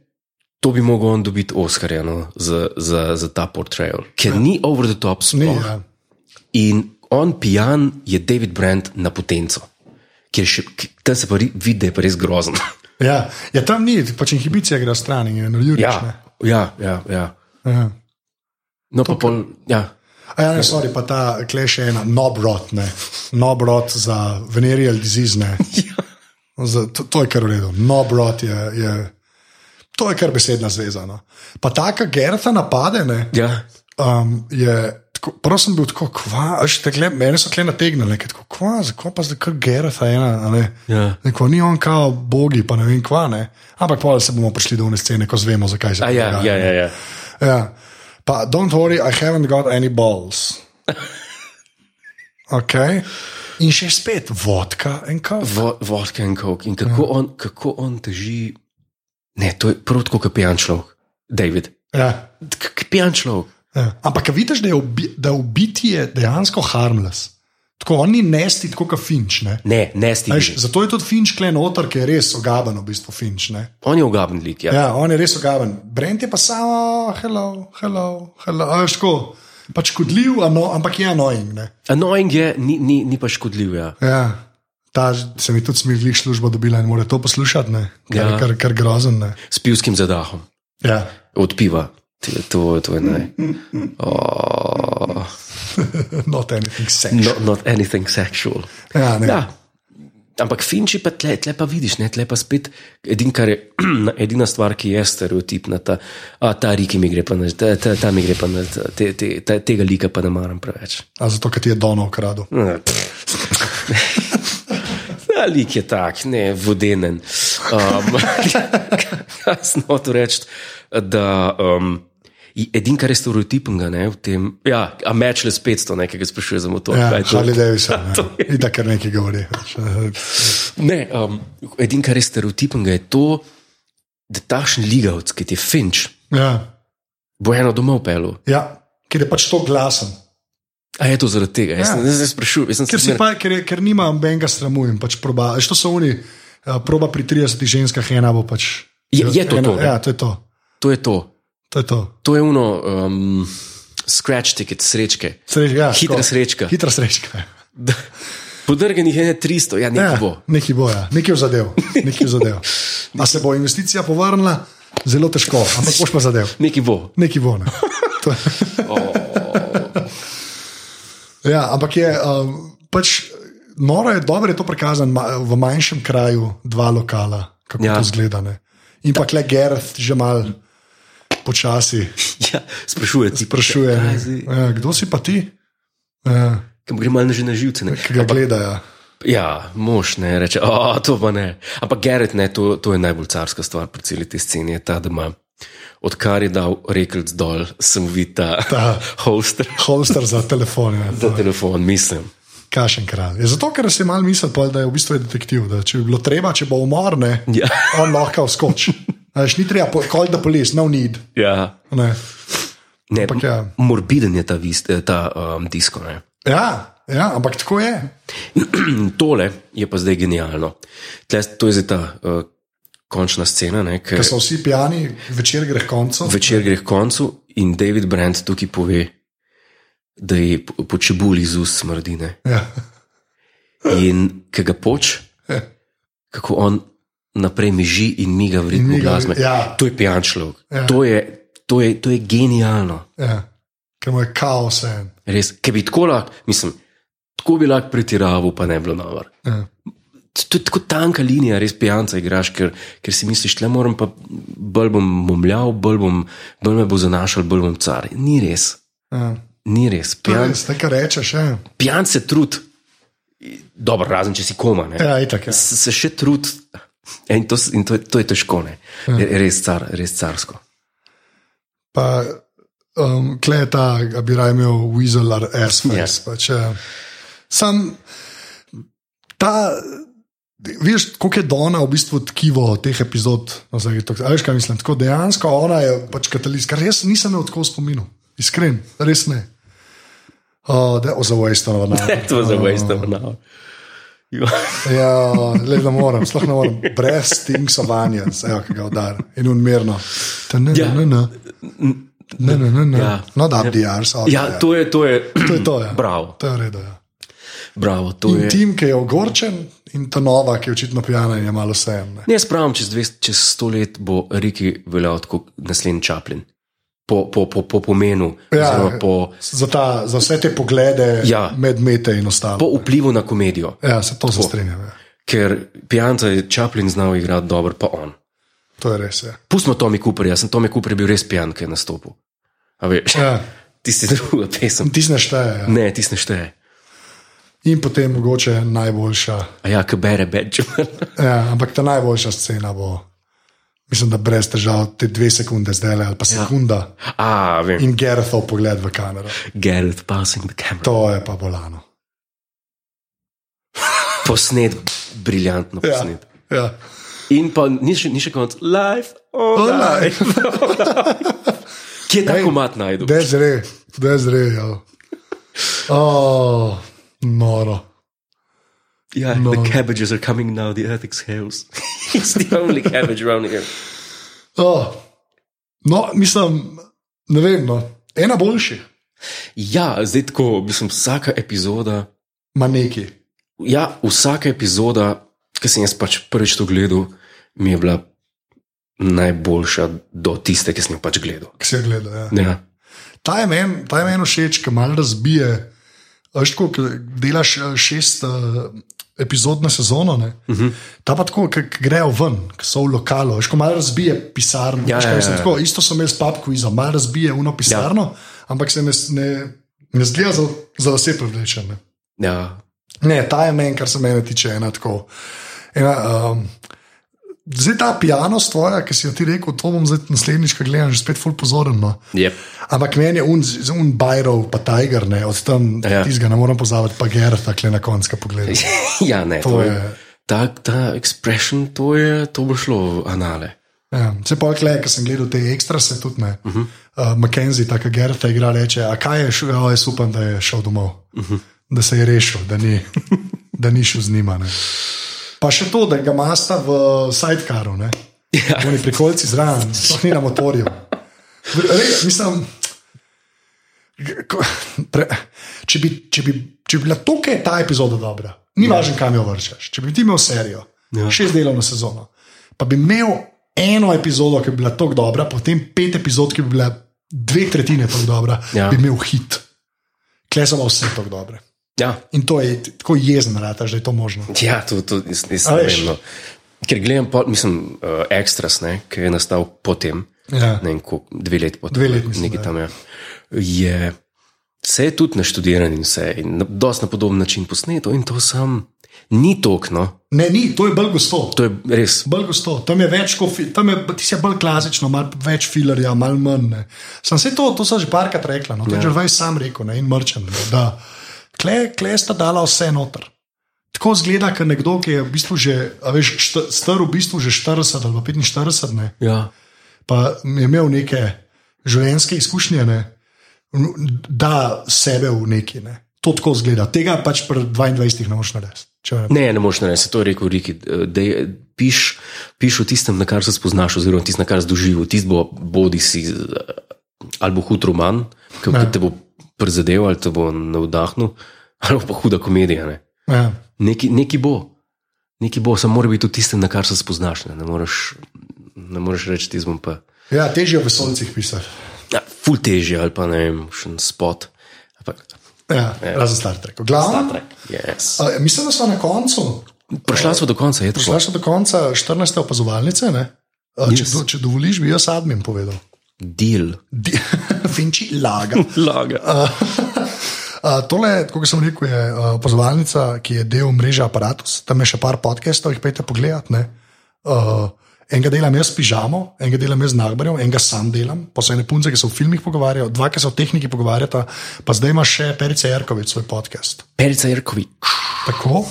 To bi mogel on dobiti Oscarja no, za, za, za ta portrayal, ker ja. ni over the top
Ni,
sploh.
ja.
In on pijan je David Brent na potenco, kjer še, ki- tam se pa ri- vidi, da je pa res grozen.
Ja. ja, tam ni, pač inhibicija gre stran in je narediš.
Ja, ja, ja. ja.
Ja.
No, pa pol, ja.
A ja, ne, sorry, pa ta klej še ena, nobrot, ne. Nobrot za venerijal disease, ne.
Ja.
Za, to, to je kar v redu. Nobrot je, je, to je kar besedna zveza. No. Pa taka gerta napade, ne.
ja.
Um, je, tako, prav sem bil tako, kva, a veš, te gle, mene so kle nategnili, ker tako, kva, zakaj pa zdaj kar Gerata ena, a ne.
Ja.
Neko, ni on kao bogi, pa ne vem kva, ne. Ampak pol se bomo prišli do one scene, ko zvemo, zakaj se
A, ja, ja, ja, ja.
ja. Pa, don't worry, I haven't got any balls. Ok. In še spet vodka in kav.
Vo, vodka in kok. In kako, ja. on, kako on teži. Ne, to je prav tako, kot pijan človek, David.
Ja,
K- K pijan človek.
Ja. Ampak a vidiš, da je, obi, da je ubitje dejansko harmless. Tako on ni nesti, tako kot finč. Ne?
Ne, ne stidi.
Veš, zato je tudi finč klen noter, ki je res ogaben, v bistvu finč. Ne?
On je ugaben lik. Ja. Ja.
Ja, on je res ogaben. Brent je pa samo, hello, hello, hello. A, veš, tako, pač škodljiv, ano, ampak je annoying. Ne?
Annoying je, ni, ni, ni pa škodljiv. Ja.
Ja. Ta se mi tudi smirlih služba dobila in mora to poslušati, ne? kar, ja.
Ja.
kar, kar grozen. Ne?
S pivskim zadahom,
Ja.
od piva. To, to, to je naj. mm. Oh,
Not anything sexy.
not, not anything sexual.
Ja, ne.
Ja. Ampak finči pa tle, tle pa vidiš, ne, tle pa spet edin, kar je, edina stvar, ki je stereotipna, ta, a, ta riki mi gre pa na, ta, ta, ta mi gre pa na, te, te, ta, tega lika pa ne maram preveč.
A zato, ker ti je Dono ukradel.
Ne, pff. Ta lik je tak, ne vodenen. Um, Kaj snot reči, da um, edin, kar je stereotipnega ne, v tem, ja, a mečle 500, ne, ki ga sprašuje za motor.
Ja,
kaj je to?
Harley Davidson. In da kar nekaj govori.
Ne, um, edin, kar je stereotipnega, je to, da takšen ligavc, ki ti je finč,
Ja.
bo eno domov pel.
ja, ker je pač to glasen.
A je to zaradi tega? Jaz
Ja.
ja. sem zdaj sprašil, jaz sem
Ker, si
zmer-
pa, ker, je- ker nima benga sramu in pač proba. Što so oni, eh, proba pri 30 ženskah, ena bo pač.
Je- je to
ena,
to, ne?
Ja, to je to.
To je to.
to, je to.
To je uno, um, scratch ticket, srečke.
Sreč, ja,
Hitra
tako.
srečka.
Hitra srečka.
Da. Podrganih je ne 300, ja, nekaj
Ja,
ja. bo.
nekaj bo, ja. nekaj bo zadev. Nekaj bo zadev. A se bo investicija povrnila, zelo težko, ampak boš pa zadev.
Nekaj bo.
Nekaj bo. Ne. To- ja, ampak je um, pač noro, je dobro je to prikazano ma- v manjšem kraju, dva lokala, kako ja.
Ja.
to zgleda. Ne. In pa le Gerth, že mal počasi
Ja, sprašuje ti,
sprašuje,
kaj zdaj?
ja, kdo si pa ti, ja,
Kam gre malo že na živce. ne.
ki ga gledajo.
Ja, mož ne reče, o, to pa ne. Ampak Gerrit, ne, to, to je najbolj carska stvar pri celi tej sceni, je ta, da ima. Odkar je dal rekelc dol, sem videl ta,
Ta.
ta. holster
Holster za telefon. Ja,
za telefon, mislim.
Kašen kralj. Je zato, ker si mal mislil, pol, da je v bistvu detektiv. Da če bi bilo treba, če bo umor, ne,
Ja.
on lahko skoči. Znaš, ni treba, call the police, no need.
Ja.
Ne.
Ne,
Ampak ja.
Morbiden je ta, vist, ta um, disko. Ne.
Ja, ja, ampak tako je.
Tole je pa zdaj genialno. Tle, to je zdaj ta uh, končna scena, ne, ker
Ker so vsi pijani, večer gre k koncu.
večer gre k koncu in David Brand tukaj pove, da je po po čebuli iz ust smrdine.
Ja.
In ki ga poč, kako on naprej miži in miga v
In
ritmu
miga,
glasbe.
ja.
To je pijan človek.
Ja.
To, je, to, je, to je genialno.
Ja. Ker mu je kaos en.
Res, ki bi tako lahko, mislim, tako bi lahko pretiraval, pa ne bilo navar.
Ja.
To je tako tanka linija, res pijanca igraš, ker, ker si misliš, le moram pa bolj bom momljal, bolj, bom, bolj me bo zanašal, bolj bom car. Ni res,
Ja.
ni res.
To je
Pijan,
res, nekaj rečeš. Ja,
pijan se trud, dobro, razen če si koma. Ne?
ja itak. Ja.
se se še trud. In to, s- in to, to je težko, ne. Je je res, car, res carsko.
Pa, um, kle je ta, a bi raje imel weasel ali asface.
Ja.
Yes. Pač, ja. Sam ta. Veš, koliko je Dona v bistvu tkivo teh epizod, no, zdaj, je to, a veš, kaj mislim. Tako dejansko ona je pač katalist, kar jaz nisem imel tako v spominu, iskren, res ne. Uh, da, o, za Westonova.
to je za waste of an hour. Jo.
Ja, le da moram, sploh ne morem, brez stinksovanja, evo, ki ga udar in unmerno. Ta Ne,
Ja.
ne, ne, ne. Ne, ne, ne, ne.
Ja.
No, da, DRs. ok,
Ja, to je, to je,
to je to. Ja.
Bravo,
To je v redu. Ja.
bravo, to je.
Tim, ki je ogorčen in ta nova, ki je očitno pijana in je malo vsem.
Ne, spravim, čez, 200, čez 100 let bo Riki veljal kot naslednji Čaplin. Po, po, po, po pomenu,
Ja.
oziroma po,
Za, ta, za vse te poglede,
Ja.
medmete in ostalo.
po vplivu na komedijo.
Ja, se to zastrinjam. Ja.
Ker pijanca je Čaplin znal igrati dobro, pa on.
To je res. Ja.
Pustimo Tomi Cooper, jaz sem Tomi Cooper bil res pijan, ki je nastopil. A veš,
Ja.
tisti druga pesem.
Ti znašteje. Ja.
Ne, ti ne šteje.
In potem mogoče najboljša.
A ja, ki bere Benjamin.
Ja, ampak ta najboljša scena bo, mislim, da brez težav te dve sekunde zdaj ali pa sekunda ja.
A, vem.
in Gerthov pogled v kamero.
Gareth passing the camera.
To je pa bolano.
Posnet, briljantno
Ja.
posnet. Ja.
Ja.
In pa ni še, ni še konc, life, oh,
Oh,
life. Kje je ta komat najdel?
Da je zre, da je zre. Ja. Oh, noro.
Yeah,
No.
Ja, the cabbages are coming now, the earth exhales. It's the only cabbage around here.
Oh. No, mislim, ne vem, no. ena boljših,
Ja, zdaj tako, mislim, vsaka epizoda.
ima neki.
Ja, vsaka epizoda, ki sem jaz pač prvič to gledal, mi je bila najboljša do tiste, ki sem jo pač gledal.
Ki se gleda. Ja.
Ja.
Ta je meni men všeč, ki malo razbije. Veš, tako, ko delaš eh, šest uh, epizod na sezono, ne? Uh
Mhm.
-huh. ta pa tako, ki grejo ven, ki so v lokalu, veš, ko malo razbije pisarno.
Ja,
Ja,
ja,
ja,
ja.
ja. Tako, isto sem jaz papko izo, malo razbije uno pisarno, ja. ampak se ne, ne, ne zgleda za, za vse privlečene.
Ja.
Ne, ta je meni, kar se mene tiče, ena tako. Ena, um, zdaj ta pijanost tvoja, ki si jo ti rekel, to bom zdaj naslednjič, ki gledam, že spet ful pozoren. No.
Yep.
Ampak meni je un, z- un Bajrov, pa Tiger, ne, od tam
Ja.
ja. tizga ne morem pozabiti, pa Gerr, tako na koncu pogledaj.
ja, ne. To
To
to
je-
je, ta, ta expression, to, je, to bo šlo v anale.
Ja. Se pa kle, ker sem gledal te ekstra, se tudi ne.
Mhm.
Uh -huh. uh, Mackenzie, tako Gerr, ta igra reče, a kaj je šel, ja, jaz upam, da je šel domov, uh
Mhm.
-huh. da se je rešil, da ni, da ni šel z njima. Ne. Pa še to, da ga masta v sidecaru, ne.
Ja.
Oni prikolici zraven, sploh ni na motorju. Re, mislim, ko- pre, če, bi, če, bi, če bi bila tukaj ta epizoda dobra, ni ja. važno, kam jo vrčeš. Če bi ti imel serijo,
Ja.
ja. šest delov na sezono, pa bi imel eno epizodo, ki bi bila tako dobra, potem pet epizod, ki bi bila dve tretjine tako dobra,
Ja.
ja. bi imel hit. Klej samo vse tako dobre.
Ja,
In to je tako jezen, rataš, da je to možno.
ja to, to jaz, jaz
A
ne
veš?
vem. No. Ker gledam, pol, mislim, uh, ekstras, ne, ki je nastal potem.
Ja.
ne vem, koliko, dve leti po
Dve leti, mislim,
nekaj
da.
tam je. je vse je tudi naštudiran in vse je in na- dosti na podoben način posneto in to sam ni tokno.
Ne, ni, to je bolj gosto.
To je res.
Bolj gosto, tam je več, kot fi- tam je, ti si ja bolj klasično, malo več filerja, malo manj. Ne. Sem se to, to sem že parkrat rekla, no, to je že zdaj sam rekel ne, in mrčen. ne, Da, kle, kle sta dala vse noter. Tako zgleda, kot nekdo, ki je v bistvu že, a veš, št- star v bistvu že 40 ali pa 45, ne,
Ja.
pa je imel neke življenjske izkušnje, ne, n- da sebe v neki. Ne. To tako zgleda. Tega pač pri 22 ne moreš narediti. če ne-
Ne, ne moš narediti, to je rekel Riki. eh, Da piš, piš o tistem, na kar se spoznaš, oziroma tisto, na kar si doživel. Tisti bo bodi si eh, ali bo hud roman, ki
Ja.
ki te bo prizadel ali te bo navdahnil, ali bo pa huda komedija. Ne.
Ja.
Neki, neki bo, neki bo, samo mora biti tudi tisto, na kar se spoznaš. Ne, ne, moreš, ne moreš reči, ti smo pa.
Ja, težje je v vesolcih pisati.
Ja, ful težje ali pa ne vem, še en spot. Ampak,
Ja, razen Star Trek. Glavno,
yes.
a, mislim, da so na koncu,
Prišla smo do konca, je to šlo.
prišla še do konca 14. opazovalnice. ne? A, Če,
Yes.
do, če dovoliš, bi jaz admin povedal.
Del.
Di- Finči laga.
Laga.
A, tole, kot sem rekel, je a, opazovalnica, ki je del mreže Apparatus, tam je še par podcastov, jih pejte pogledat. ne. A, Enega delam jaz s pižamo, enega delam jaz z nagbarjem, enega sam delam, pa so ene punce, ki se v filmih pogovarjajo, dva, ki se v tehniki pogovarjata, pa zdaj ima še Perica Jerkovic svoj podcast.
Perica Jerkovič.
Tako.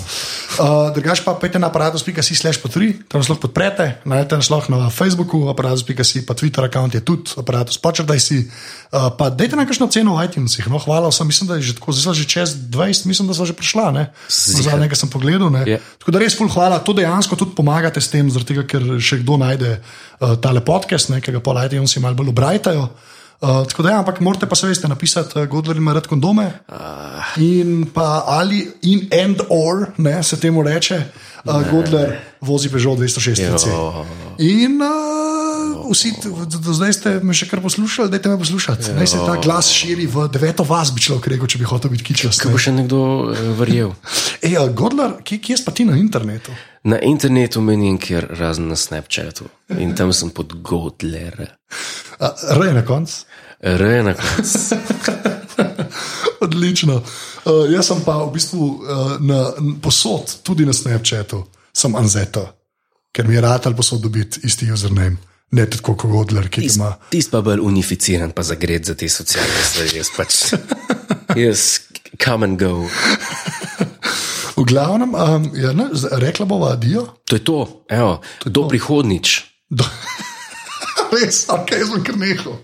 Uh, drugač pa pejte na aparatus.si slash po tri, tam nas lahko podprete, najdete nas lahko na Facebooku, aparatus.si, pa Twitter račun je tudi, aparatus počrtaj si. Uh, pa dajte na kakšno ceno v iTunesih, no hvala vsem, mislim, da je že tako, zdaj smo že čez 20, mislim, da so že prišla, ne?
Ziher.
Zadnje, ki sem pogledal. ne.
Ja.
Tako da res ful hvala, to dejansko tudi pomagate s tem, zaradi tega, ker še kdo najde uh, tale podcast, ne, ki ga pa iTunesi malo bolj obrajtajo. Uh, tako da, ja, ampak morate pa se veste napisati, uh, Godler ima rad kondome. In pa ali in and or, ne se temu reče, uh, Godler vozi Peugeot 206.
Jo.
In uh, vsi, t- do- do zdaj ste me še kar poslušali, dajte me poslušati. Naj se ta glas širi v deveto vas, bi človek rekel, če bi hotel biti kičast.
Bo še nekdo eh, verjel.
Ej, a Godler, kje, kje si pa ti na internetu?
Na internetu menim, kjer razen na Snapchatu in tam sem pod Godler.
A, Rej na koncu.
Re na koncu.
Odlično. Uh, jaz sem pa v bistvu uh, na, n- posod, tudi na Snapchatu, sem Anzeta, ker mi je rad ali posod dobiti isti username. Ne tako kot Godler, ki ga ima.
Tisti pa bolj unificiran, pa zagred za te socialne stvari. Jaz pač. Jaz come and go.
V glavnem, um, ja, ne, z- rekla bova adijo.
To je to, evo, to je do to. prihodnič.
Do... Res, ok, jaz sem kar nehal.